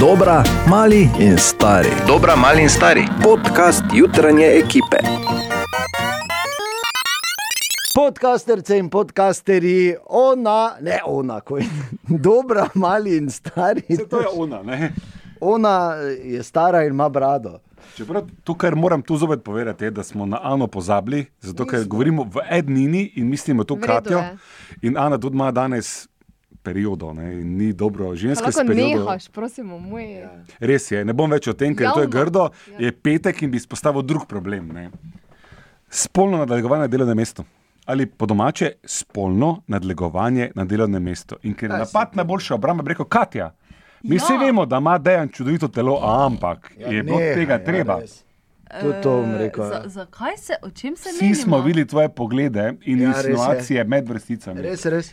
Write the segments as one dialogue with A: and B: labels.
A: Dobra, mali in stari.
B: Dobra, mali in stari.
A: Podcast jutranje ekipe.
C: Podcasterce in podcasterji, ona, ne ona, ko je dobra, mali in stari.
D: Saj to je ona. Ne?
C: Ona je stara in ima brado.
D: Čeprav to, kar moram tu zopet povedati, je, da smo na Ano pozabili, zato ker govorimo v ednini in mislimo to
E: V redu
D: Katjo.
E: je.
D: In Ana tudi ima danes periodo, ne? in ni dobro,
E: Pa
D: ženske
E: Lahko
D: s periodo.
E: nehaš, prosimo, moj. Ja.
D: Res je, ne bom več o tem, ker to je
E: Javno.
D: grdo,
E: Ja.
D: je petek in bi izpostavil drug problem. Ne? Spolno nadlegovanje na delovnem mestu. Ali po domače, spolno nadlegovanje na delovnem mestu. In ker je napad na boljšo obrambo, bi rekel Katja. Mi vsi
E: Ja.
D: vemo, da ima dejan čudovito telo, ampak ja, je bilo
C: Nehaj,
D: tega
C: ja,
D: treba.
C: res. To je to, bom rekel.
E: Eh, Za,
C: ja.
E: zakaj se, o čem se
D: Vsi
E: menimo?
D: smo videli tvoje poglede in
C: Ja,
D: ja,
C: res je.
D: insinuacije med vrsticami.
C: Res, res.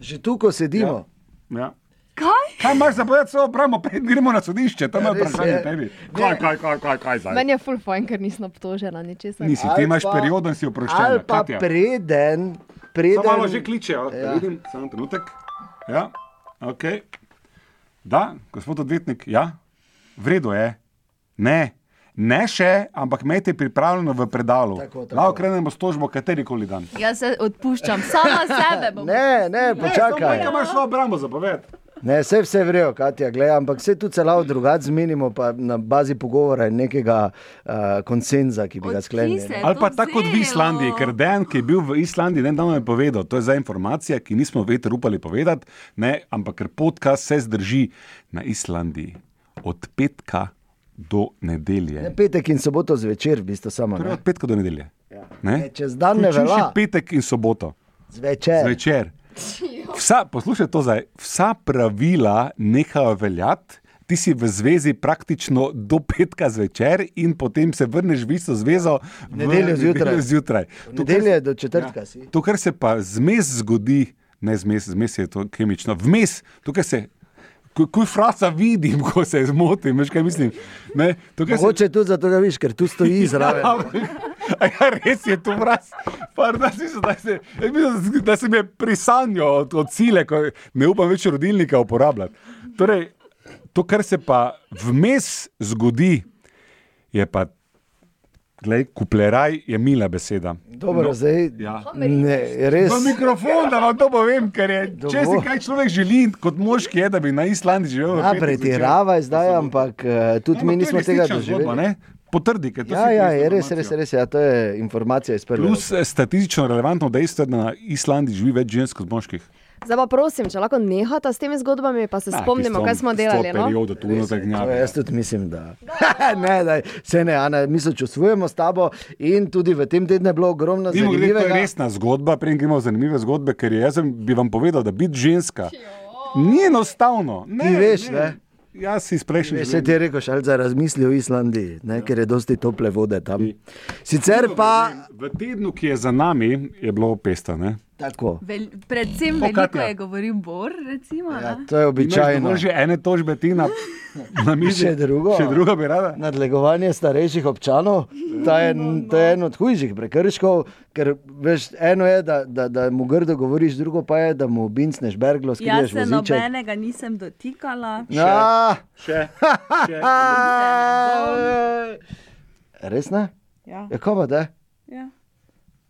C: Že tu, ko sedimo.
D: Ja.
E: Kaj?
D: Kaj imaš za povedati, so obramo, preden gremo na sodišče, tam
C: Ja,
D: je
C: res je.
D: vprašanje tebi. Kaj, kaj, kaj, kaj, kaj zdaj?
E: Meni je full fajn, ker nisem obtožena ničesar.
D: Nisi,
C: Ali
D: ti imaš
C: pa-
D: periodo in si
C: Ali
D: oproščen.
C: pa preden, preden.
D: Samo malo že kličejo,
C: Ja.
D: ja. vidim, samo trenutek. Ja, ok. Da, gospod odvetnik, ja, v redu je. Ne, ne še, ampak imejte pripravljeno v predalu.
C: Tako, tako.
D: Lahko krenemo s tožbo katerikoli dan.
E: Jaz Ja, se odpuščam, sama sebe bom.
C: Ne, ne, počakaj.
D: Kaj imaš v obrambo zapoved?
C: Ne, vse, vse vrejo, Katja, gledaj, ampak vse tu celo drugače zmenimo, pa na bazi pogovora in nekega uh, konsenza, ki bi ga
E: Od kje se
C: sklenili.
E: je
D: Ali pa
E: E, to no.
D: tako kot v
E: vzelo?
D: Islandiji, ker dejan, ki je bil v Islandiji, ne damo je povedal, to je za informacije, ki nismo veter upali povedati, ne, ampak ker podcast se zdrži na Islandiji od petka do
C: Ne,
D: nedelje.
C: Petek in soboto zvečer, v bistvu samo. Ne?
D: Torej od petka do nedelje.
C: Ne, Ja. E, čez dan ne
D: Vključuj
C: velja. E.
D: še petek in soboto,
C: Zvečer.
D: zvečer. Vsa, poslušaj to zdaj, vsa pravila nehajo veljati. Ti si v zvezi praktično do petka zvečer, in potem se vrneš v isto zvezo v
C: Nedeljo zjutraj.
D: nedeljo zjutraj.
C: V
D: To, kar
C: Nedelje do četrtka si.
D: To, kar se pa zmes zgodi, ne zmes, zmes je to kemično, vmes, to, kar se. ko- Ko frasa vidim, ko se zmotim, veš kaj mislim. Ne, to, kar se-
C: Mogoče tudi zato, da viš, ker tu
D: Ja.
C: stoji zraven.
D: A Ja, res je to vraz. Pardon, mislim, da, se, jaz mislim, da se mi je prisanjo od, od sile, ko ne upam več rodilnika uporabljati. Torej, to, kar se pa vmes zgodi, je pa, glej, kupleraj je mila beseda.
C: Dobro, no, zdaj.
D: Ja.
C: Ne, res.
D: V mikrofon, da vam to povem, ker je, če si
C: Dovolj.
D: kaj človek želi, kot moški je, da bi na Islandiji živel. v
C: Ja,
D: petek Ja,
C: pretirava zdaj, ampak eh, tudi mi
D: zvečer. Ampak to je
C: nismo tega
D: resnična zgodba,
C: doživeli.
D: ne? Potrdi, ker to
C: Ja,
D: si
C: ja,
D: koristna
C: je res, res,
D: informacija.
C: res, ja, to je informacija iz prvega.
D: Plus eh, statistično relevantno dejstvo, je, da na Islandiji živi več žensk kot moških.
E: Zdaj pa prosim, če lahko nehata s temi zgodbami, pa se Ja, spomnimo, kaj smo delali. No?
D: Periodo, tu
C: Res je, to
D: notegnjave.
C: Jaz tudi mislim, da ne, daj, se ne, Ana, mi sočustvujemo s tabo in tudi v tem tednu je bilo ogromno
D: Mimo grede, to je
C: zanimivega.
D: resna zgodba, prej gremo v zanimive zgodbe, ker je- jaz sem- bi vam povedal, da biti ženska ni enostavno. Ne,
C: Ti veš, ne?
D: Jaz si iz prejšnjih
C: Vse ti je rekel, šalca razmisli o Islandiji, ne, ker je dosti tople vode tam. Sicer pa
D: V tednu, ki je za nami, je bilo pesta. Ne?
C: tako,
E: Vel, predvsem
D: O,
E: veliko
D: Katja.
E: je govoril Bor, recimo.
C: ja,
E: Ja.
C: to je običajno.
D: Imaš že ene tožbe ti na, na mizi.
C: Še drugo?
D: Še drugo bi rada.
C: Nadlegovanje starejših občanov, to je, to je en od hujših prekrškov, ker veš, eno je, da, da, da mu grdo govoriš, drugo pa je, da mu bincneš berglo,
F: Jaz
C: skriješ
F: se
C: voziček.
F: nobenega nisem dotikala.
C: Ja,
D: Še. še.
C: Res ne?
F: Ja,
C: Ja, kaj pa da?
F: ja.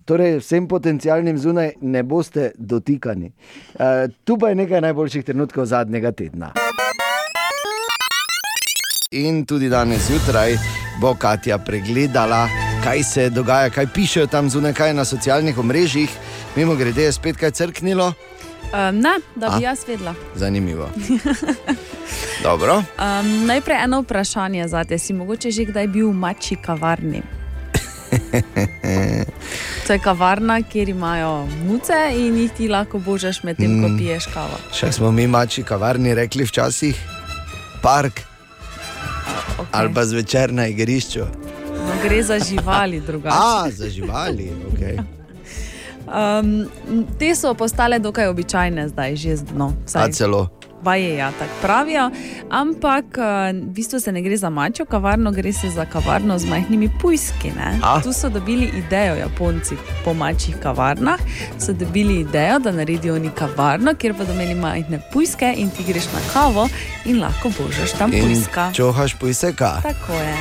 C: Torej, vsem potencialnim zunaj ne boste dotikani. Uh, tu pa je nekaj najboljših trenutkov zadnjega tedna. In tudi danes zjutraj bo Katja pregledala, kaj se dogaja, kaj pišejo tam zunaj, kaj je na socialnih omrežjih. Mimo grede je spet kaj crknilo,
F: Um, ne, da
C: A?
F: bi jaz vedela.
C: zanimivo. Dobro.
F: Um, najprej eno vprašanje za te. Si mogoče že kdaj bil v mači kavarni? to je kavarna, kjer imajo muce in jih ti lahko božaš med tem,
C: Mm.
F: ko piješ kavo.
C: Še smo mi mači kavarni rekli včasih, park
F: Okay.
C: ali pa zvečer na igrišču.
F: No, gre za živali drugače.
C: A, za živali, ok.
F: Um, te so postale dokaj običajne zdaj, že zdno.
C: A celo.
F: Baje, ja, tako pravijo, ampak eh, v bistvu se ne gre za mačjo kavarno, gre se za kavarno z majhnimi pujski. ne.
C: A?
F: Tu so dobili idejo, Japonci po mačjih kavarnah so dobili idejo, da naredijo oni kavarno, kjer bodo imeli majhne pujske in ti greš na kavo in lahko božaš tam
C: In
F: pujska.
C: Mm. čohaš pujseka.
F: Tako je,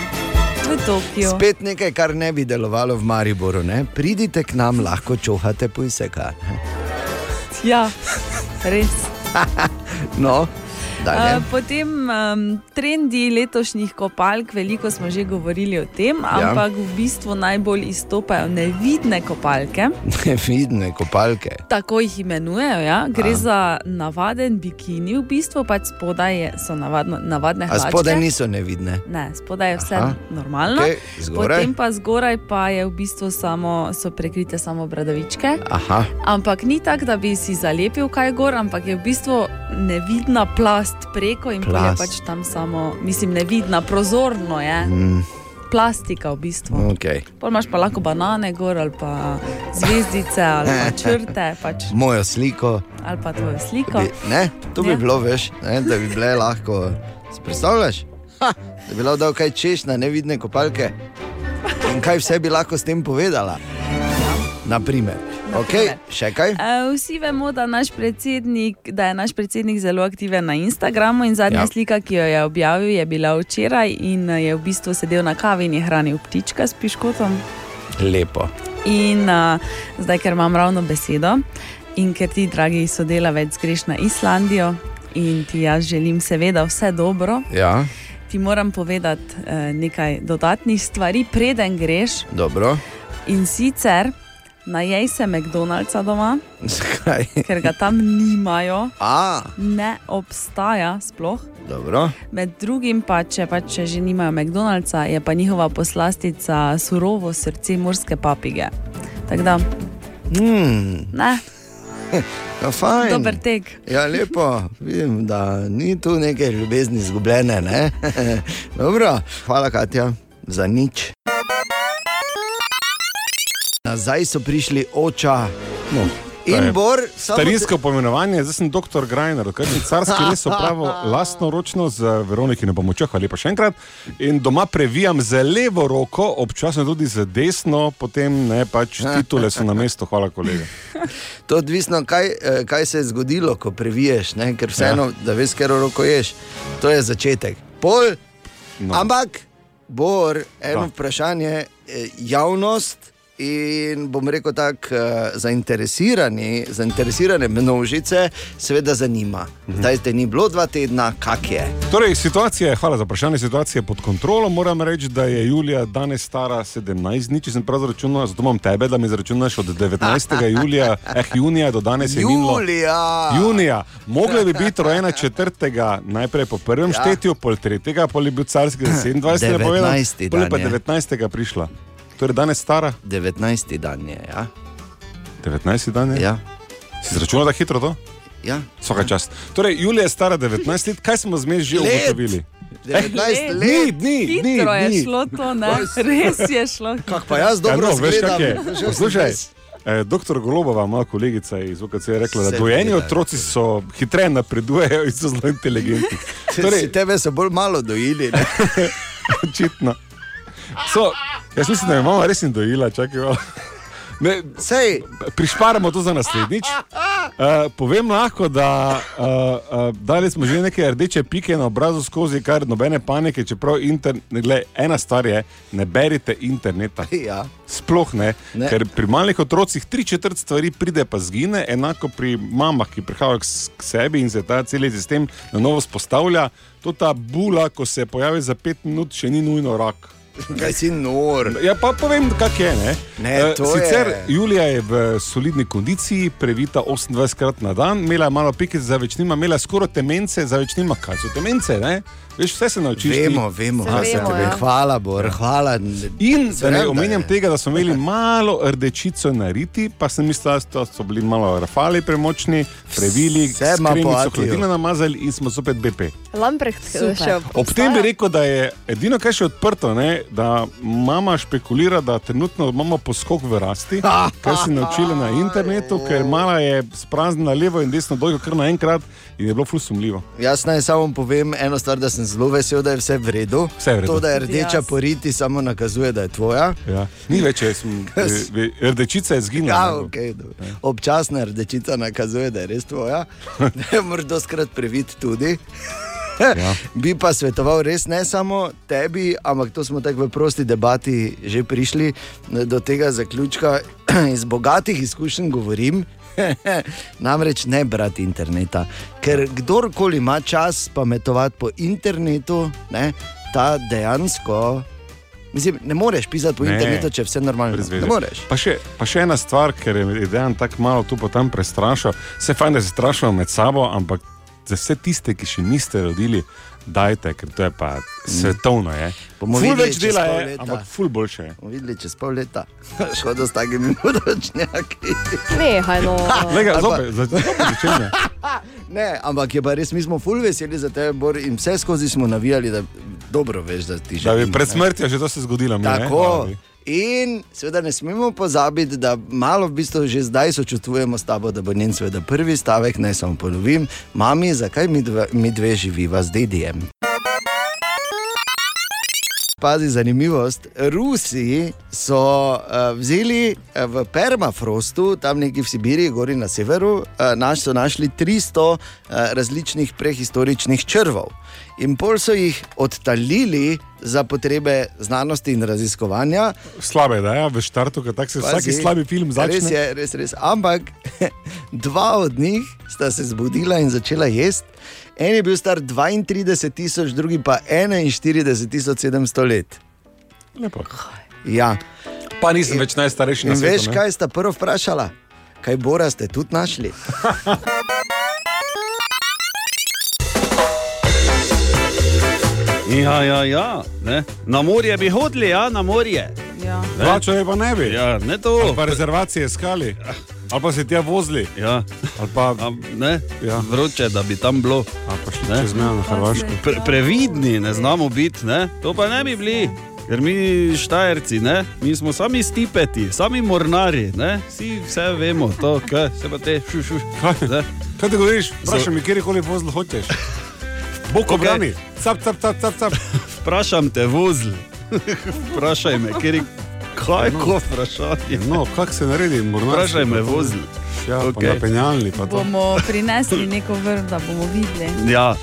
F: v Tokiu.
C: Spet nekaj, kar ne bi delovalo v Mariboru. Ne? Pridite k nam, lahko čohate pujseka.
F: Ja, res.
C: No,
F: Uh,
C: dalje.
F: potem um, trendi letošnjih kopalk, veliko smo že govorili o tem,
C: Ja.
F: ampak v bistvu najbolj izstopajo nevidne kopalke.
C: Nevidne kopalke.
F: Tako jih imenujejo. Ja?
C: A.
F: Gre A. za navaden bikini, v bistvu pač spodaj je, so navadno, navadne
C: A
F: hlače.
C: spodaj niso nevidne.
F: Ne, spodaj je vse
C: Aha.
F: Aha. normalno.
C: Okay,
F: Potem
C: zgoraj.
F: pa zgoraj pa je v bistvu samo, so prekrite samo bradavičke.
C: Aha,
F: Ampak ni tako, da bi si zalepil kaj gor, ampak je v bistvu nevidna plast preko in pol je
C: Plast.
F: pač tam samo, mislim, nevidna, prozorno je.
C: Mm. No.
F: Plastika v bistvu.
C: okay.
F: Pol imaš pa lahko banane gor ali pa zvezdice ali pa črte pač,
C: mojo sliko.
F: ali pa tvojo sliko.
C: Bi, ne, to bi ja.
F: Ja.
C: bilo, veš, ne, da bi bile lahko. Si predstavljaš? Ha, da bi lahko dal kaj češ na nevidne kopalke. In kaj vse bi lahko s tem povedala? Ja. Naprimer. Okay, še kaj?
F: E, Vsi vemo, da, naš predsednik- da je naš predsednik zelo aktiven na Instagramu in
C: Ja.
F: zadnja ja. slika, ki jo je objavil, je bila včeraj in eh, je v bistvu sedel na kavi in je hranil ptička s piškotom.
C: Lepo.
F: In uh, zdaj, ker imam ravno besedo in ker ti, dragi sodelavec, greš na Islandijo in ti jaz želim, seveda, vse dobro,
C: Ja,
F: ti moram povedati uh, nekaj dodatnih stvari, preden greš.
C: dobro.
F: In sicer najej se McDonald'sa doma,
C: Zakaj?
F: ker ga tam nimajo.
C: A,
F: Ne obstaja sploh.
C: dobro.
F: Med drugim, pa, če pa če že nimajo McDonald'sa, je pa njihova poslastica surovo srce morske papige. Tako da,
C: Hmm,
F: ne,
C: no, fajn.
F: dober tek.
C: Ja, lepo, vidim, da ni tu neke ljubezni izgubljene. Ne? Dobro, hvala, Katja, za nič. Nazaj so prišli oča
D: No, to je
C: in bor, samo
D: Starinsko pomenovanje, zdaj sem doktor Grajner, ker sem carski res opravil lastno ročno z Veronikino pomočjo, ali pa še enkrat. In doma previjam z levo roko, občasno tudi z desno, potem ne pač titule so na mestu, hvala kolega.
C: te- to je odvisno, kaj, eh, kaj se je zgodilo, ko previješ, ne? ker vseeno, ja. da veš, kjer roko ješ. To je začetek. Pol, no. Ampak, bor, eno
D: Da.
C: vprašanje, eh, javnost. In bom rekel tako, eh, zainteresirani, zainteresirane množice, seveda zanima.
D: Mhm.
C: Zdaj te ni bilo dva tedna, kak je.
D: Torej, situacija je, hvala za vprašanje, situacija je pod kontrolo. Moram reči, da je Julija danes stara 17 dni, če sem prav zračunal, zato imam tebe, da mi zračunaš od 19. julija, eh, junija do danes je minilo.
C: Julija,
D: Junija, mogla bi biti rojena četrtega, najprej po prvem
C: Ja.
D: ja. štetju, pol tretjega, pol je bil carski za 27, napovedan,
C: 19.
D: pol je pa
C: dan je.
D: 19. prišla. Torej, danes stara,
C: 19. dan je. Ja?
D: 19 dan je. Ja.
C: Ja,
D: Si izračunal, da je hitro to?
C: ja.
D: Vsaka čast. Torej, Julija je stara 19 let, kaj smo zmes že
C: Let.
D: ugotovili? Ja,
C: 19
D: Dni,
C: let.
D: dni, dni,
F: Hitro je
D: dni.
F: šlo to, ne? res je šlo.
C: Kak pa jaz dobro
D: ja, no, veš,
C: zgledam.
D: kako je.
C: Že sem
D: Poslušaj,
C: res-
D: eh, doktor Golobova, moja kolegica iz UKC, je rekla, da
C: Se
D: dojeni
C: gledajo.
D: otroci so hitreje napredujejo in so zelo inteligentni.
C: Torej,
D: Torej,
C: tebe so bolj malo dojili. ne?
D: očitno. So, jaz mislim, da me mama res ni dojila, čakaj. malo. Ne,
C: Sej,
D: prišparamo to za naslednjič. Uh, povem lahko, da uh, uh, dali smo že neke rdeče pike na obrazu skozi, kar nobene panike, čeprav interne, gled, ena stvar je, ne berite interneta.
C: ja.
D: Sploh ne,
C: Ne.
D: ne, ker pri malih otrocih tri četrt stvari pride, pa zgine, enako pri mamah, ki prihajajo k s- k sebi in se ta cel sistem na novo spostavlja. To ta bula, ko se pojavi za pet minut, še ni nujno rak.
C: Kaj si nor?
D: Ja, pa povem, kak je. Ne?
C: Ne,
D: Eh,
C: to je-
D: Sicer Julija je v solidni kondiciji, previta 28krat na dan, imela je malo pikic za večnima, imela je skoraj temence, za večnima, kaj so temence, ne? Veš, vse se naučiš. ti.
C: Vemo, vemo.
E: Se vemo,
C: Vemo,
E: ja.
C: Hvala, Bor, hvala.
G: Torej,
D: In da
C: Verjamem,
D: ne
C: da
D: omenjam
C: je.
D: tega, da smo imeli malo rdečico na riti, pa sem mislil, da so- so bili malo rafali premočni, previli,
C: Vse
D: vse
C: ima
D: smo
C: poatijo.
D: hladilno namazali in smo zopet BP.
E: Lamprecht
F: Super.
E: eh, še
D: Ob tem bi rekel, da je edino, kar je še odprto, ne, da mama špekulira, da trenutno imamo poskok v rasti, kar si naučili na internetu, ker mala je spraznila levo in desno dolgo kar naenkrat in je bilo flusumljivo.
G: Jaz naj samo povem eno stvar, da sem zelo vesel, da je vse v redu.
D: Vse je v redu.
G: To, da je rdeča
F: Jaz.
G: poriti, samo nakazuje, da je tvoja.
D: Ja. Ni več, jaz sem, eh, eh, rdečica je zginila.
G: Ja, okay, dobro. Občasna rdečica nakazuje, da je res tvoja. Da je Moraš doskrat previt tudi.
D: Ja.
G: Bi pa svetoval res ne samo tebi, ampak to smo tako v prosti debati že prišli do tega zaključka. Iz bogatih izkušenj govorim, namreč ne brati interneta. Ker kdorkoli ima čas pametovati po internetu, ne, ta dejansko. Mislim, ne moreš pisati po
D: Ne,
G: internetu, če je vse normalno.
D: brez veze.
G: Ne moreš.
D: Pa še, pa še ena stvar, ker je dejan tako malo tu pa tam prestrašal. Vse fajn, da se strašimo med sabo, ampak za vse tiste, ki še niste rodili, dajte, ker to je pa svetovno. Je.
G: Bomo
D: Ful
G: videli
D: več
G: čez
D: dela
G: pol
D: je,
G: leta.
D: ampak ful boljše je.
G: Bomo videli čez pol leta, škoda s takimi podočnjaki.
E: Nehaj, no.
D: Lega,
G: ali pa-
D: zopet, za- zopet začenja.
G: Ne, ampak je pa res, mi smo ful veseli za tebe, Bor, in vse skozi smo navijali, da dobro veš, da ti že.
D: Da bi pred smrtjo že to se zgodilo. mi, ne?
G: Tako.
D: Hvala bi.
G: In seveda ne smemo pozabiti, da malo v bistvu že zdaj sočutvujemo s tabo, da bo njen seveda prvi stavek, ne samo ponovim, mami, zakaj mi, dva, mi dve živiva z dedijem. Pazi, zanimivost. Rusi so uh, vzeli eh, v permafrostu, tam nekje v Sibiriji, gori na severu, uh, naš, so našli 300 uh, različnih prehistoričnih črvov. In pol so jih odtalili za potrebe znanosti in raziskovanja.
D: Slabe, da je ja, v štartu, ker tako se vsaki
G: Pazi,
D: slabi film
G: Res
D: začne.
G: je, res, res. Ampak dva od njih sta se zbudila in začela jesti. En je bil star 32 tisoč, drugi pa 41 tisoč 700 let.
D: Lepo.
G: Ja.
D: Pa nisem več najstarejši na
G: In
D: svetu.
G: veš,
D: ne.
G: kaj sta prvo vprašala? Kaj Bora ste tudi našli?
B: Ja, ja, ja. Ne? Na morje bi hodili, ja, na morje.
F: Ja.
D: Plačal je pa ne bi.
B: Ja, ne
D: Ali
B: to.
D: pa rezervacije iskali. Ali pa se tja vozili.
B: Ja,
D: Ali pa,
B: a, ne,
D: Ja.
B: ja. Vroče, da bi tam bilo.
D: ali pa šli
B: Ne.
D: čez mejo na Hrvaško.
B: Pre, previdni ne znamo biti, ne? to pa ne bi bili. Ker mi štajerci, ne? mi smo sami stipeti, sami mornari, ne? vsi vse vemo, to, kaj se pa te šušuš.
D: Kaj ti govoriš? Vprašaj mi, kjerkoli vozil hočeš. Bog obrani, cap, cap, cap, cap, cap.
B: Vprašam te vozl, vprašaj me, kjer je kaj, ko vprašanje.
D: No, kak se naredi, morda.
B: Vprašaj me vozl.
D: Ja, okay.
B: Okej.
D: pa napenjalni pa to.
F: Bomo prinesli neko vrh, da bomo videli.
B: Ja,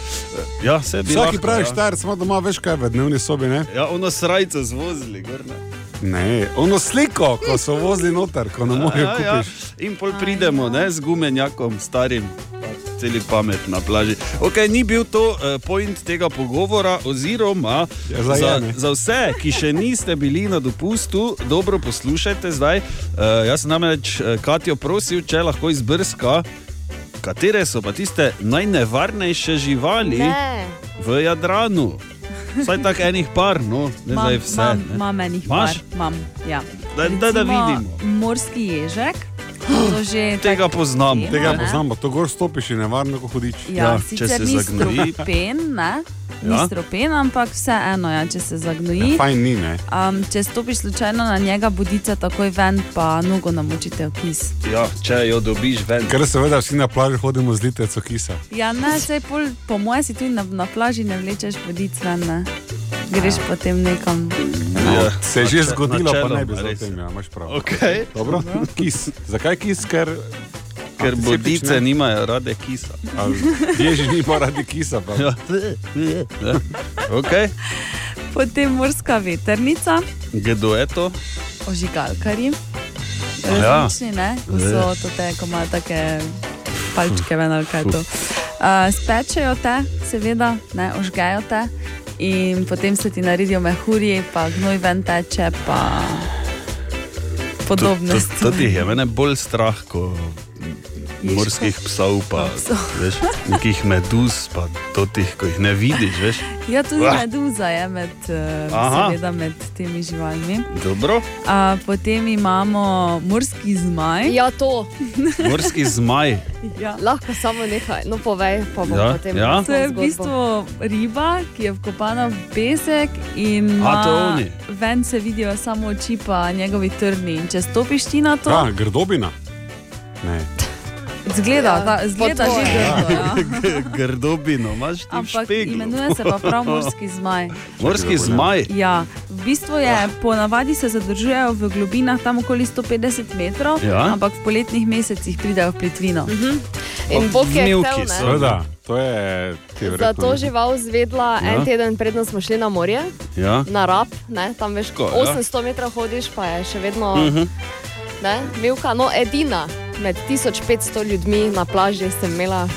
B: ja se bi.
D: Vsak, ki
B: lahko,
D: pravi
B: ja.
D: štajer, smo doma, veš kaj, v dnevni sobi, ne?
B: Ja, ono srajco z vozli, gorna.
D: Ne, ono sliko, ko so vozili noter, ko ne morejo
B: Ja, ja.
D: kupiti.
B: In pol pridemo ne, z gumenjakom, starim, celi pamet na plaži. Okay, ni bil to uh, point tega pogovora, oziroma
D: Ja, zdaj je,
B: za,
D: ne.
B: za vse, ki še niste bili na dopustu, dobro poslušajte zdaj. Uh, jaz sem namreč uh, Katijo prosil, če lahko izbrska. Katere so pa tiste najnevarnejše živali
E: Ne.
B: v Jadranu? Vsaj tako enih par, no, ne
F: Imam-
B: zdaj vse.
F: Imam,
B: ne.
F: imam enih par.
B: Imaš?
F: Imam, ja.
B: Da- da- da
F: Recimo
B: vidimo.
F: Morski ježek. to že
B: Tega
F: tako-
B: poznam.
F: Ja.
D: Tega
F: Ne.
D: poznam, pa to gor stopiš in nevarno, ko hudič.
F: Ja,
B: Ja,
F: ja,
B: če
F: sicer
B: se
F: ni
B: zagnoji.
F: stropen, ne?
B: Ja.
F: Ni stropen, ampak vseeno, ja, če se zagnoji.
D: Fajn ni, ne?
F: Um, če stopiš slučajno na njega, bodica takoj ven, pa nogo namočite v kis.
B: Ja, če jo dobiš ven.
D: Ker seveda vsi na plaži hodimo z liteco kisa.
F: Ja, ne, sej pol, po mojem si tudi na, na plaži ne vlečeš bodic ven, ne? Greš potem nekam.
B: Ja.
D: No, Se je že
B: Nače-
D: zgodilo, pa ne bi
B: načeloma,
D: zdaj o
B: res.
D: tem, ja, imaš prav.
B: Okay.
D: Dobro? Kis. Zakaj kis? Ker
B: Ker
D: Antiseptične.
B: bodice nimajo rade kisa.
D: ali ježi nima radi kisa. Pa.
B: Ja. Okay.
F: Potem morska veternica,
B: Kdo je to?
F: ožigalkari.
B: Ja. Eh. Hm.
F: Različni, ne? Ko so to te, ko imajo take palčke ven ali kaj to. Uh, spečejo te, seveda, ne, ožgejo te in potem se ti naredijo mehurji, pa gnoj ven teče, pa
B: To-
F: podobno.
B: to- To ti je mene bolj strah, ko morskih psov, pa
F: Psov.
B: veš, nekih meduz, pa totih, ko jih ne vidiš, veš.
F: Ja, tudi
B: Ah.
F: meduza je med, eh,
B: Aha.
F: seveda med temi živalmi.
B: Dobro,
F: A, potem imamo morski zmaj.
E: Ja, to.
B: morski zmaj.
F: Ja.
E: Lahko samo nekaj. No, povej, pa bomo
B: Ja,
E: potem.
B: ja.
F: To je v
E: zgodbo.
F: bistvu riba, ki je vkopana v pesek in
B: A, to
F: ima-
B: oni.
F: ven se vidijo samo oči pa njegovi trni. In če stopiš ti na to,
D: Ja, grdobina. Ne.
F: zgleda,
E: Ja,
F: da, zgleda
E: po
F: že
E: tvoje.
F: grdo. Ja.
B: Grdobino, imaš ti v
F: Ampak
B: špeglu.
F: imenuje se pa prav morski zmaj.
B: Morski zmaj.
F: Ja, v bistvu
B: Ja.
F: je, ponavadi se zadržujejo v globinah tam okoli 150 metrov,
B: Ja.
F: ampak v poletnih mesecih pridejo v plitvino.
E: In Bog je
B: Mivki
E: hotel,
B: so.
E: ne.
D: Seveda, to je ti
E: Za
D: verjetno.
E: to žival zvedla
B: Ja.
E: en teden, predno smo šli na morje,
B: Ja.
E: na rab, ne? tam veš, Ko,
B: Tako, ja.
E: 800 metrov hodiš, pa je še vedno uh
B: Mhm.
E: -huh. ne, milka. No, edina med 1500 ljudmi na plaži sem imela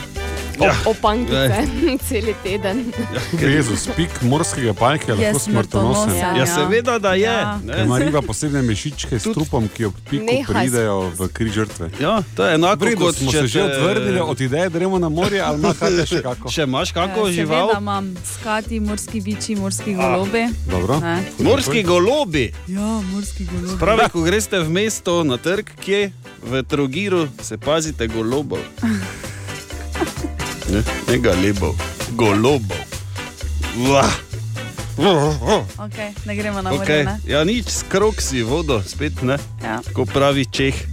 E: op
B: Ja.
E: ja. opankice cel teden.
D: Jezus, pik morskega pajka je
F: Je
D: lahko smrtonosen.
F: smrtonosen.
B: Ja, seveda, da je.
F: Ja.
D: Ker
B: ne.
D: ima riba posebne mešičke s
B: Tudi-
D: trupom, ki ob piku
E: Nehaj s-
D: pridejo v kri žrtve.
B: Ja, to je enako
D: Pridu
B: kot
D: smo
B: če
D: se že
B: te-
D: odvrnili od ideje, da gremo na morje, ali ima kaj še kako.
B: Če imaš kako
F: Eh,
B: žival,
F: Seveda imam skati, morski biči, morski golobi.
D: Dobro.
F: Ne?
B: morski golobi.
F: Ja, morski golobi.
B: Pravi, ko greste v mesto na trg, kje v Trogiru, se pazite golobov. Ne, ne galebov, golobov. Vah.
F: Okay, ne gremo na morje.
B: Okay.
F: ne?
B: Ja, nič, skrok si vodo, spet ne,
F: Ja.
B: ko pravi Čeh.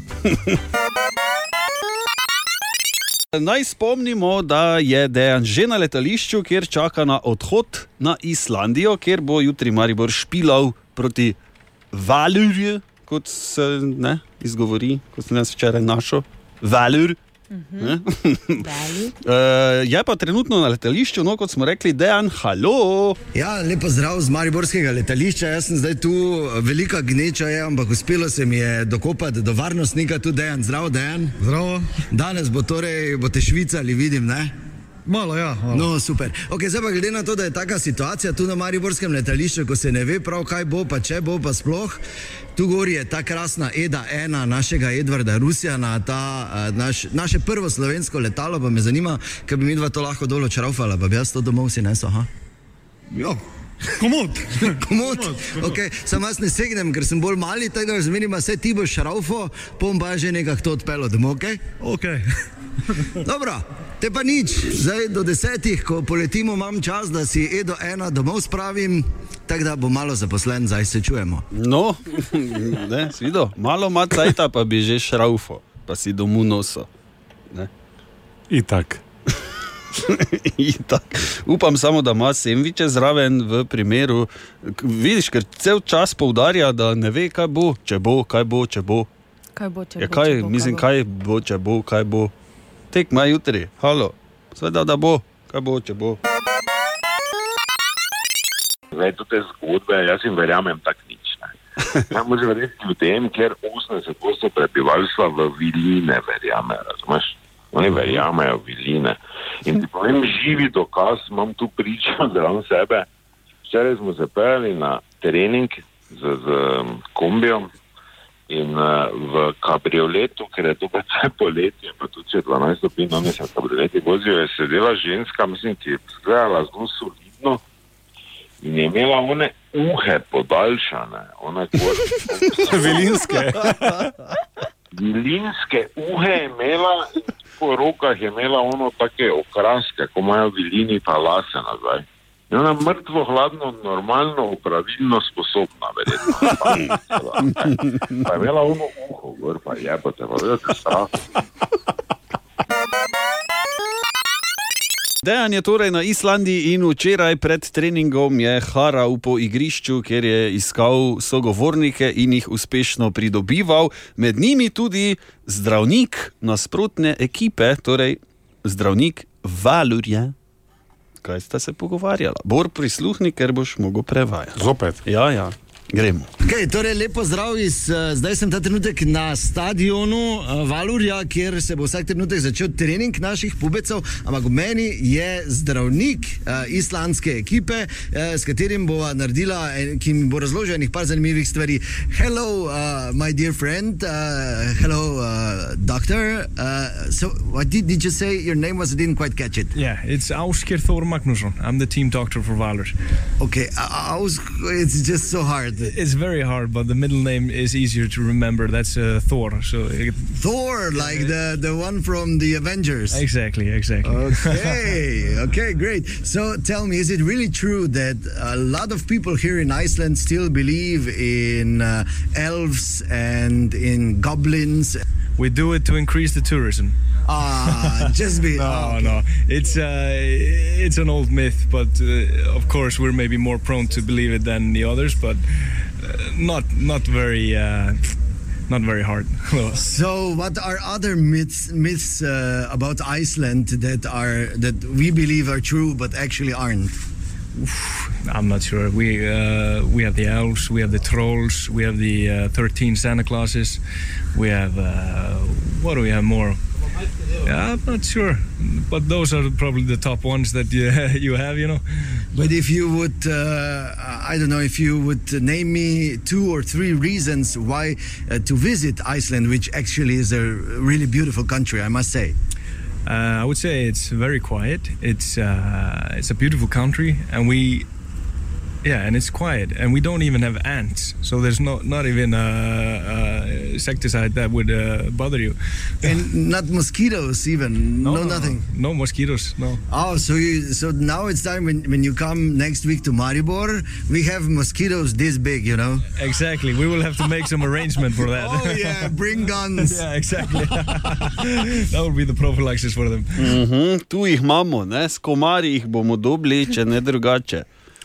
B: Naj spomnimo, da je Dejan že na letališču, kjer čaka na odhod na Islandijo, kjer bo jutri Maribor špilal proti Valurju, kot se ne izgovori, kot sem jaz včeraj našel. Valur. Ne? Eh, je pa trenutno na letališču, no kot smo rekli, dejan, halo.
G: Ja, lepo zdrav z Mariborskega letališča. Jaz sem zdaj tu, velika gneča je, ampak uspelo se mi je dokopati do varnostnika, tudi dejan, zdrav dejan. Zdravo. Danes bo torej, boste švicali, vidim, ne? Malo, ja. Malo. No, super. Okay, zdaj pa glede na to, da je taka situacija tu na Mariborskem letališču, ko se ne ve prav, kaj bo, pa če bo, pa sploh. Tu gor je ta krasna EDA 1 našega Edvarda Rusjana, ta, eh, naš, naše prvo slovensko letalo, pa me zanima, kaj bi mi dva to lahko dolo črafala, pa bi jaz to domov si nesel. Aha. Ja. Komod. komod. Okay. Sam jaz ne segnem, ker sem bolj mali, tako da me zmenima, se ti boš šraufo, pom pa že nekako to odpelo domov, ok? Ok. Dobro, te pa nič. Zdaj do desetih, ko poletimo, imam čas, da si edo ena domov spravim, tako da bo malo zaposlen, zdaj se čujemo.
B: No, ne, si videl, malo ima cajta, pa bi že šraufo, pa si domu noso.
D: Itak.
B: Itak. Upam samo, da ima semviče zraven v primeru, k- vidiš, ker cel čas poudarja, da ne ve, kaj bo, če bo, kaj bo, če bo.
F: Kaj bo, če
B: Ja,
F: bo,
B: kaj,
F: če bo,
B: mislim,
F: bo.
B: kaj bo, če bo, kaj bo. Tekma je jutri, halo, seveda da bo, kaj bo, če bo.
H: Zdaj, do te zgodbe, jaz jim verjamem tak nič. Ne. Samo že verjeti ljudem, ker 80% prebivalstva v vili ne verjame, razumeš? Oni verjamejo v viline. In ti povem, živi dokaz, imam tu pričo zraven sebe. Včeraj smo se peljali na trening z, z um, kombijem in uh, v kabrioletu, ker je to pač poletje, pa tudi če je 12 stopinj, no, mislim, kabrioleti vozijo, je sedela ženska, mislim, ki je izgledala zelo solidno in je imela one uhe podaljšane, one kot
D: Velinske.
H: vilinske uhe je imela, in po rokah je imela ono take okraske, ko imajo vilini pa lase nazaj. In ona mrtvo, hladno, normalno, pravilno sposobna, verjetno. Pa je imela ono uho, gor pa je, pa te pa vedete, strah.
B: Dejan je torej na Islandiji in včeraj pred treningom je haral po igrišču, kjer je iskal sogovornike in jih uspešno pridobival, med njimi tudi zdravnik nasprotne ekipe, torej zdravnik Valurja. Kaj sta se pogovarjala? Bor prisluhni, ker boš mogel prevajati.
D: Zopet.
B: Ja, ja. Gremo.
G: Okay, torej, lepo zdrav iz, eh, zdaj sem ta trenutek na stadionu eh, Valurja, kjer se bo vsak trenutek začel trening naših pubecev, ampak meni je zdravnik eh, islandske ekipe, eh, s katerim bova naredila, eh, ki mi bo razložil nekaj zanimivih stvari. Hello, uh, my dear friend, uh, hello, uh, doctor. Uh, so, what did, did you say your name was? I didn't quite catch it.
I: Yeah, it's Auskir Thor Magnusson. I'm the team doctor for Valor.
G: Okay, I, I was, it's just so hard.
I: It's very hard, but the middle name is easier to remember. That's uh, Thor. So it,
G: Thor, like the, the one from the Avengers.
I: exactly, exactly.
G: Uh. Okay, okay, great. So tell me, is it really true that a lot of people here in Iceland still believe in uh, elves and in goblins?
I: we do it to increase the tourism.
G: Ah, just be.
I: No, no, it's uh, it's an old myth, but uh, of course we're maybe more prone to believe it than the others, but uh, not not very uh, not very hard.
G: So, what are other myths myths uh, about Iceland that are that we believe are true but actually aren't?
I: I'm not sure. We uh, we have the elves, we have the trolls, we have the uh, 13 Santa Clauses, we have uh, what do we have more? Yeah, I'm not sure, but those are probably the top ones that you, you have, you know.
G: But if you would, uh, I don't know, if you would name me two or three reasons why uh, to visit Iceland, which actually is a really beautiful country, I must say.
I: Uh, I would say it's very quiet. It's uh, it's a beautiful country, and we, yeah, and it's quiet, and we don't even have ants, so there's not not even uh, uh, insecticide that would uh, bother you.
G: And not mosquitoes, even. No, nothing.
I: No mosquitoes. No.
G: Oh, so you, so now it's time when, when you come next week to Maribor, we have mosquitoes this big, you know?
I: Exactly. We will have to make some arrangement for that.
G: Oh, yeah, bring guns.
I: yeah, exactly. that would be the prophylaxis for them.
B: Mhm, tu jih imamo, ne? s komarji jih bomo dobili, če ne drugače.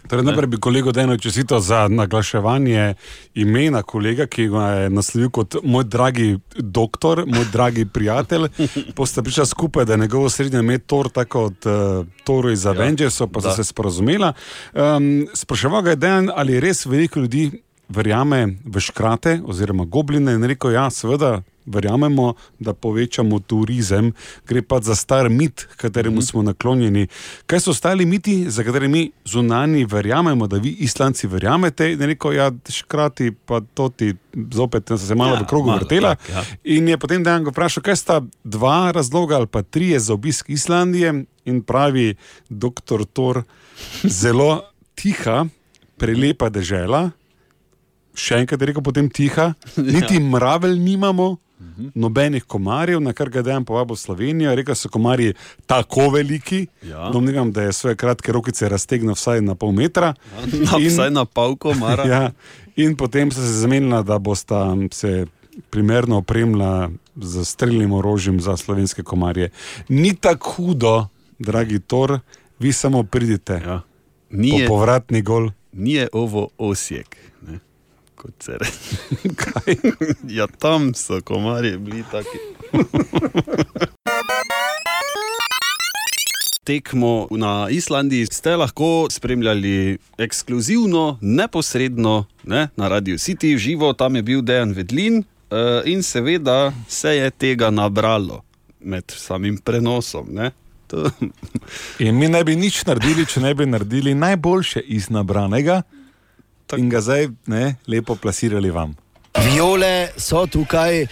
D: Torej, najprej bi kolego Dejno čestito za naglaševanje imena kolega, ki ga je naslovil kot moj dragi doktor, moj dragi prijatelj. Posta prišla skupaj, da je njegovo srednje ime Thor, tako kot uh, Thor iz Avengersov, pa sta se
B: da.
D: sporozumela. Um, spraševal ga je Dejan, ali res veliko ljudi verjame v škrate oziroma gobline in rekel, ja, seveda. Verjamemo, da povečamo turizem, gre pa za star mit,
B: Mhm.
D: kateremu smo naklonjeni. Kaj so ostali miti, za katere mi zunani verjamemo, da vi, Islanci, verjamete? In je rekel, ja, škrati pa to ti, zopet sem se malo
B: Ja,
D: ja, v krogu
B: malo,
D: vrtela.
B: tako, ja.
D: In je potem dejansko vprašal, kaj sta dva razloga ali pa trije za obisk Islandije. In pravi doktor Thor, zelo tiha, prelepa dežela. Še enkrat je rekel, potem tiha, niti ja. mravelj nimamo.
B: Mhm.
D: Nobenih komarjev, na kar ga dejem povabo v Slovenijo, rekel so komarji tako veliki,
B: Ja.
D: domnevam, da je svoje kratke rokice raztegnil vsaj na pol metra.
B: Na, vsaj na palko, mara.
D: Ja, in potem sta se zamenjala, da bosta se primerno opremila z streljnim orožjem za slovenske komarje. Ni tako hudo, dragi Tor, vi samo pridite. Ja.
B: Ja. Ni,
D: Po
B: je,
D: povratni gol.
B: ni je ovo Osijek, ne? kot se reče. ja, tam so komarji bili taki. Tekmo na Islandiji ste lahko spremljali ekskluzivno, neposredno ne, na Radio City, živo, tam je bil Dejan Vedlin eh, in seveda se je tega nabralo med samim prenosom. ne. To,
D: In mi ne bi nič naredili, če ne bi naredili najboljše iz nabranega in ga zdaj ne, lepo plasirali vam.
C: Viole so tukaj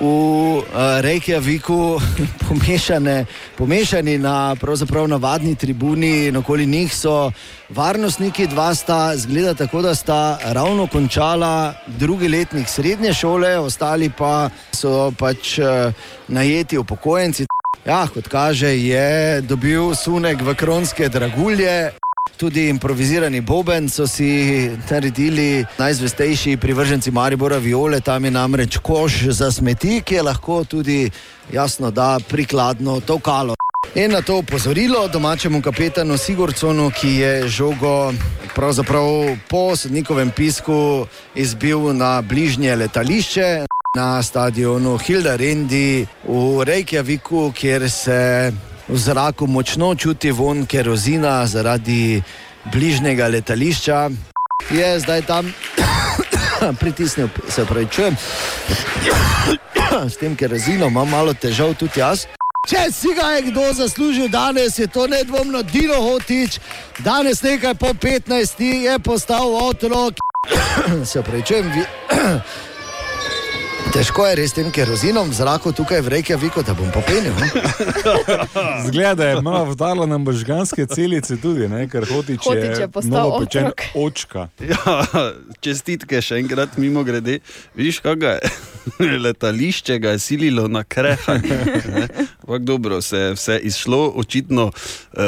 C: v uh, Reykjaviku pomešane, pomešani na pravzaprav navadni tribuni, in okoli njih so varnostniki, dva sta, zgleda tako, da sta ravno končala drugi letnik srednje šole, ostali pa so pač uh, najeti upokojenci. Ja, kot kaže, je dobil sunek v kronske dragulje. Tudi improvizirani boben so si naredili najzvestejši privrženci Maribora Viole, tam je namreč koš za smeti, ki je lahko tudi jasno da prikladno tokalo. In na to opozorilo domačemu kapetanu Sigurconu, ki je žogo pravzaprav po sodnikovem pisku izbil na bližnje letališče na stadionu Hilda Rendi v Reykjaviku, kjer se v zraku močno čuti von kerozina zaradi bližnjega letališča. Je zdaj tam pritisnil, se pravi, čujem. S tem, ker razino imam malo težav tudi jaz. Če si ga je kdo zaslužil danes, je to nedvomno Dino Hotič. Danes nekaj po 15 je postal otrok. Se pravi, čujem. Vi... Težko je res tem kerozinom, zraku tukaj v Reykjaviku, da bom popenil. ne?
D: Zgleda, da je malo vdalo na možganske celice tudi, ne? ker hotič
E: Hotić je
D: je
E: postal
D: novopečen
E: otrok.
D: očka.
B: Ja, čestitke še enkrat, mimo grede. Viš, kaj ga je letališče ga je sililo na krehanje. ne. Ampak dobro, se je vse izšlo, očitno uh,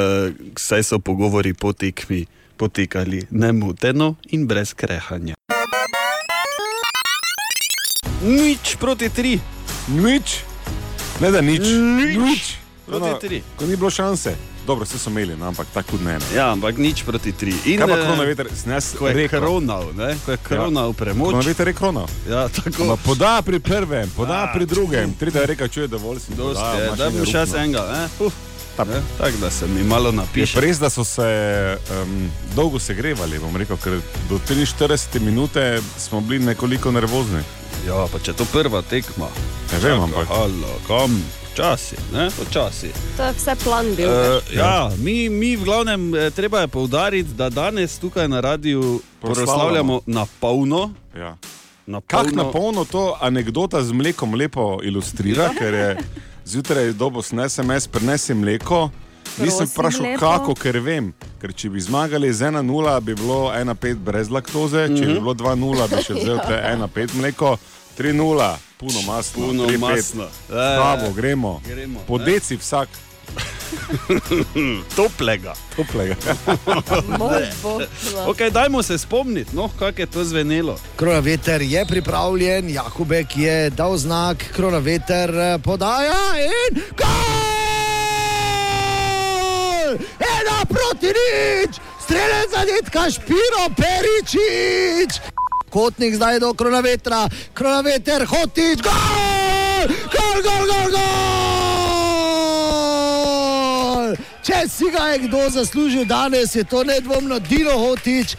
B: saj so pogovori po tekmi potekali nemoteno in brez krehanja. Nič proti tri,
D: Nič, ne da nič.
B: Nič.
D: No,
B: proti tri.
D: ko ni bilo šanse. Dobro, vse so imeli, no, ampak tako ne. ne.
B: Ja, ampak nič proti tri. In,
D: Kaj pa
B: eh,
D: krona veter, snes
B: Ko je
D: rekel.
B: kronal, ne? ko je kronal ja.
D: Krona
B: premoč.
D: veter je krona.
B: Ja, tako.
D: Ma Poda pri prvem, poda
B: Ah.
D: pri drugem. Tretja reka čuje dovolj, si
B: Dosti
D: podal,
B: je,
D: imaš
B: da
D: ene
B: bo še jaz
D: rukno.
B: enega. eh. Uf,
D: Ta-
B: ne, Tako da se mi malo
D: Je
B: napiše.
D: pa res, da so se um, dolgo segrevali, bom rekel, ker do 43 minute smo bili nekoliko nervozni.
B: Ja, pa če to prva tekma.
D: Ne
B: Ja,
D: vem, ampak
B: Halo, kam? Počasi, ne, počasi.
E: To je vse plan
D: E,
E: bil. ne?
B: Uh, ja, mi, mi v glavnem, eh, treba je poudariti, da danes tukaj na radiju
D: Proslavljamo.
B: proslavljamo na polno.
D: ja.
B: Na
D: Kako
B: polno.
D: na polno to anekdota z mlekom lepo
B: Ja.
D: ilustrira, ker je zjutraj dobo snesem, jaz prenesem mleko. Nisem vprašal,
F: Prosim lepo.
D: kako, ker vem. Ker če bi zmagali z 1-0, bi bilo 1-5 brez laktoze, če bi
B: Mhm.
D: bilo 2-0, bi še vzel te 1-5 mleko, 3-0, puno masno.
B: Puno
D: 3:5.
B: masno. Ja, ja, ja.
D: Slabo, gremo.
B: Gremo,
D: Po
B: ne.
D: deci vsak
B: Toplega.
D: toplega.
E: Moj bog. no.
B: Okay, dajmo se spomniti, no, kako je to zvenelo.
C: Krona veter je pripravljen, Jakubek je dal znak, krona veter eh, podaja in gol! Ena proti nič, strelec zadetka Špiro Peričič. Kotnik zdaj do krona vetra, krona veter hotič, gol! Gol, gol, gol, gol! Če si ga je kdo zaslužil danes, je to nedvomno Dino Hotič.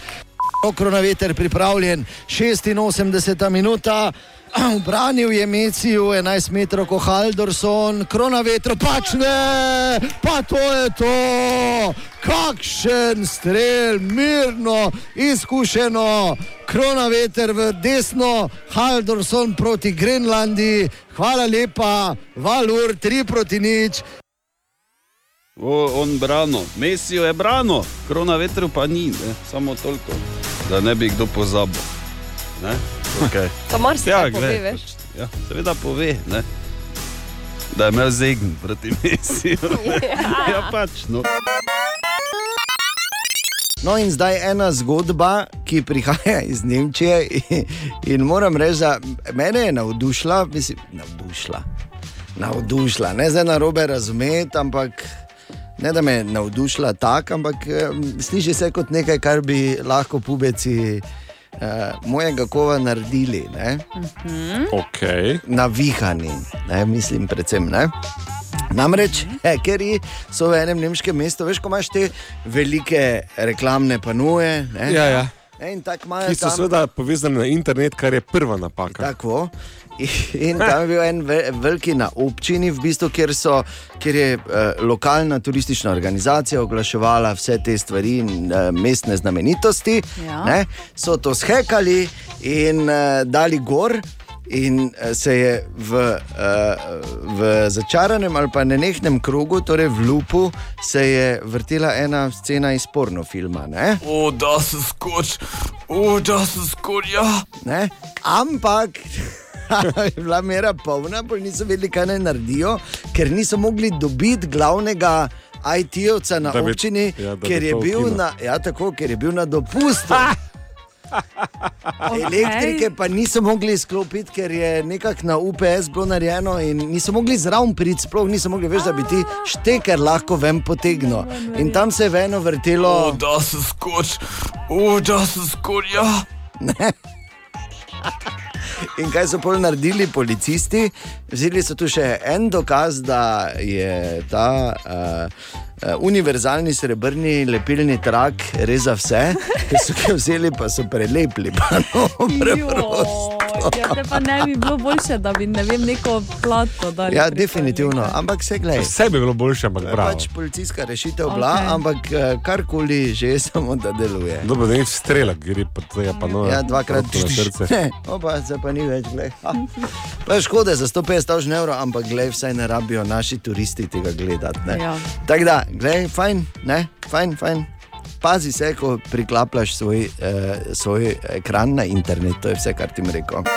C: Okrona veter pripravljen, 86 minuta. Branil je Meciju 11 metrov, kot Haldorson, krona vetro, pač ne, pa to je to. Kakšen strel, mirno, izkušeno, krona veter v desno, Haldorson proti Grenlandiji, hvala lepa, Valur 3 proti nič.
B: O, on brano, mesijo je brano, krona vetru pa ni, ne? samo toliko, da ne bi kdo pozabil. Ne? Okay.
E: To
B: Ja,
E: marsikaj pove,
B: glej,
E: veš.
B: pač, ja, seveda pove, ne? da je imel zegn proti mesijo. Ja. ja, pač. No.
C: No, in zdaj ena zgodba, ki prihaja iz Nemčije. In, in moram reči, da me je navdušila, mislim, navdušila. Navdušila, ne zdaj na robe razumeti, ampak ne da me je navdušila tako, ampak eh, sliši se kot nekaj, kar bi lahko pubeci eh, mojega kova naredili. Ne? Mhm.
D: Okay.
C: navihani, ne, mislim, predvsem. Ne. Namreč hekerji so v enem nemškem mestu, veš, ko imaš te velike reklamne panoje. Ne,
D: Ja, ja.
C: Ne, in tako imajo
D: Ki so
C: tam-
D: seveda povezani na internet, kar je prva napaka.
C: Tako. In tam je bil en ve- veliki na občini, v bistvu, kjer, so, kjer je eh, lokalna turistična organizacija oglaševala vse te stvari in eh, mestne znamenitosti.
F: Ja.
C: Ne, so to shekali in eh, dali gor. In eh, se je v, eh, v začaranem ali pa nenehnem krogu, torej v lupu, se je vrtela ena scena iz pornofilma. Ne?
J: Oh, das ist gut. Oh, das ist gut, ja.
C: Ne? Ampak je bila mera polna, bolj niso vedeli, kaj naj naredijo, ker niso mogli dobiti glavnega. IT-ovca na
D: Da bi-
C: občini,
D: ja, da bi
C: ker, je
D: to
C: bil
D: ukinil.
C: na, ja, tako, ker je bil na dopustu. Elektrike pa niso mogli izklopiti, ker je nekako na UPS bilo narejeno in niso mogli zraven priti, sploh niso mogli več, da bi ti šteker lahko ven potegnil. In tam se je veno
J: Oh,
C: vrtelo,
J: das ist gut. Oh, das ist gut, ja.
C: In kaj so pol naredili policisti? Vzeli so tu še en dokaz, da je ta uh, uh, univerzalni srebrni lepilni trak res za vse, ki so ga vzeli, pa so prelepili. Pa no,
F: Ja, te pa ne bi bilo boljše, da bi ne vem, neko plato dali.
C: ja,
F: pri-
C: definitivno, ampak se gledaj.
D: Vse bi bilo boljše, ampak prav.
C: Pač policijska rešitev bila,
F: Okej.
C: okay. ampak eh, karkoli že, samo da deluje.
D: Dobro, da ni strelek, gre pa to je pa no.
C: Ja, dvakrat
D: roko na srce.
C: Ne, Opa, se pa ni več. glej. Ha. Pa je škoda za 150 evrov, ampak glej, vsaj ne rabijo naši turisti tega gledati. ne.
F: Ja.
C: Tako da, glej, fajn, ne, fajn, fajn. Pazi se, ko priklapljaš svoj, eh, svoj ekran na internet, to je vse, kar ti bom rekel.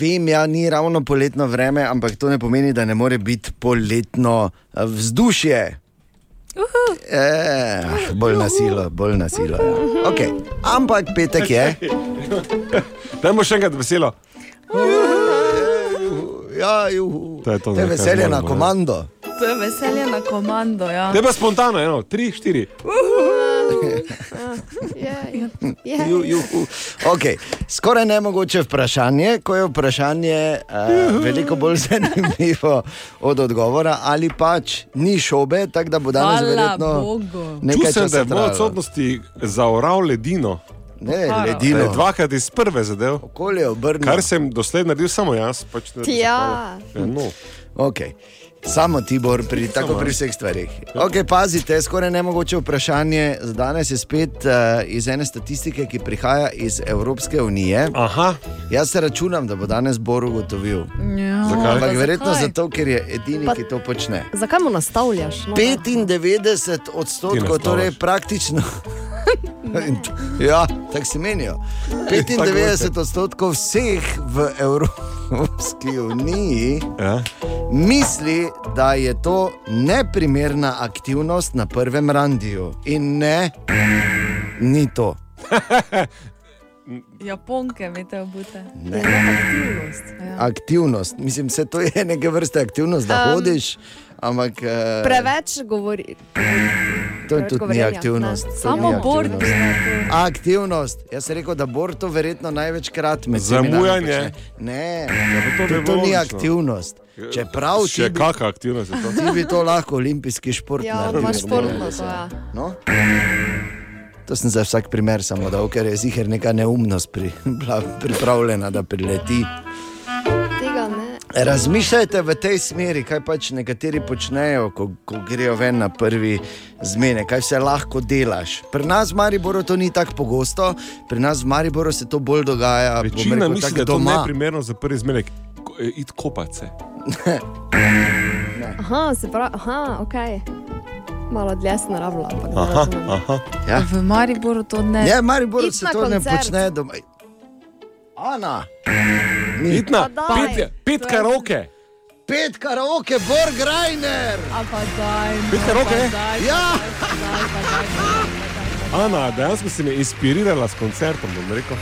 C: Vem, ja, ni ravno poletno vreme, ampak to ne pomeni, da ne more biti poletno eh, vzdušje. Eh, bolj na silo, bolj na silo. Ja. Okay. Ampak petek je.
D: Dajmo še enkrat veselo.
C: Ja, juhu.
D: To je to,
C: to je
D: nekaj
C: veselje na
D: zmoremo, ne?
C: komando.
F: To je veselje na komando. Ja.
D: Ne pa spontano, eno, tri, štiri.
E: Je, je.
C: Ju, juhu. Okay. Skoraj nemogoče vprašanje, ko je vprašanje uh, veliko bolj zanimivo od odgovora, ali pač ni šobe, tako da bo danes
F: Hvala
C: verjetno
F: Bogu.
C: nekaj
D: Čutim, da
C: časa
D: je v moji
C: trajalo.
D: odsotnosti zaoral ledino.
C: Ne,
D: Da je
C: ledino.
D: dvakrat iz prve zadev.
C: Okolje obrnjeno.
D: Kar sem doslej naredil samo jaz. Pač ne-
E: Tja.
D: No.
C: Okay. Samo Tibor, pri, tako pri vseh stvarih. Okay, pazite, skoraj nemogoče vprašanje. za Danes je spet uh, iz ene statistike, ki prihaja iz Evropske unije.
D: Aha,
C: Jaz se računam, da bo danes Bor ugotovil.
F: Ja,
D: Zakaj?
C: Ampak
F: pa
C: verjetno
F: zakaj?
C: zato, ker je edini,
E: Pa-
C: ki to počne.
E: Zakaj mu nastavljaš? No,
C: 95
D: Ti
C: odstotkov,
D: nastavljaš.
C: torej praktično. In t- ja, tako si menijo. 95 odstotkov vseh v Evropski uniji
D: ja.
C: misli, da je to neprimerna aktivnost na prvem randiju. In ne, ni to.
F: Japonke, veste, obute.
C: Ne.
F: Aktivnost. Ja.
C: Aktivnost. Mislim, vse to je neke vrste aktivnost, da
E: Em,
C: hodiš, ampak eh,
E: Preveč govori.
C: to
E: preveč
C: tudi ni
E: govorjenja, ne.
C: aktivnost. to ni
F: Samo Bor.
C: aktivnost. Aktivnost. Jaz sem rekel, da bo to verjetno največkrat med seminarji
D: Zamujanje. Ja,
C: počne. Ne,
D: pa to
C: to,
D: bi
C: to
D: bilo
C: ni
D: logično.
C: aktivnost. Čeprav ti
D: Še
C: bi,
D: kakšna aktivnost je to?
C: ti bi to lahko olimpijski šport
E: Ja,
C: naredil.
E: pa
C: ne
E: športno
C: moreš,
E: to je.
C: No? To sem za vsak primer samo dal, ker je zihar neka neumnost pri, bila pripravljena, da prileti.
E: Tega ne.
C: Razmišljajte v tej smeri, kaj pač nekateri počnejo, ko, ko grejo ven na prvi zmene, kaj se lahko delaš. Pri nas v Mariboru to ni tako pogosto, pri nas v Mariboru se to bolj dogaja. bom
D: Večina
C: rekel,
D: misli,
C: tako
D: da je to
C: doma.
D: neprimerno za prvi zmerek. eh, Id kopat se.
E: Aha, se pravi, aha, ok. Malo dlje sem rabila, ampak ne
D: Aha,
E: razumem.
D: aha.
C: Ja.
F: V Mariboru to ne.
C: Ja, v Mariboru
E: Iti
C: se
E: na
C: to ne
E: koncert.
C: počne doma. Ana,
D: Itna,
E: Pa daj.
D: pet, pet karoke.
C: pet karaoke, Borgrajner!
F: A pa daj. no,
D: Pite roke?
F: pa daj,
C: Ja!
F: pa daj, pa daj, pa daj.
D: Ana, dejansko si me inspirirala s koncertom, bom rekel.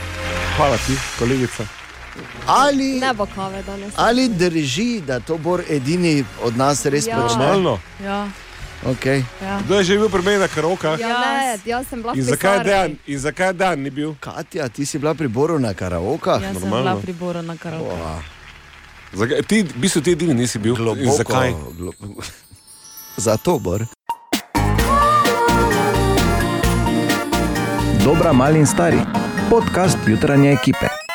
D: Hvala ti, kolegica.
C: Ali,
E: Ne bo kave danes.
C: ali drži, da to bo edini od nas res
E: Ja.
C: počne?
D: Normalno.
F: Ja,
C: Okay.
F: ja.
D: Kdo je že bil pri meni na karokah?
E: Ja, ne, jaz sem bila
D: In
E: v
D: zakaj dan,
E: pisarni.
D: in zakaj dan ni bil?
C: Katja, ti si bila pri Boru na karaokah?
F: Jaz sem
D: normalno.
F: bila pri Boru na karaoke.
D: Zakaj, ti, v bistvu ti edini nisi bil. In
C: Globoko.
D: zakaj?
C: Glo... Zato, Bor.
A: Dobra, mali in stari. Podcast jutranje ekipe.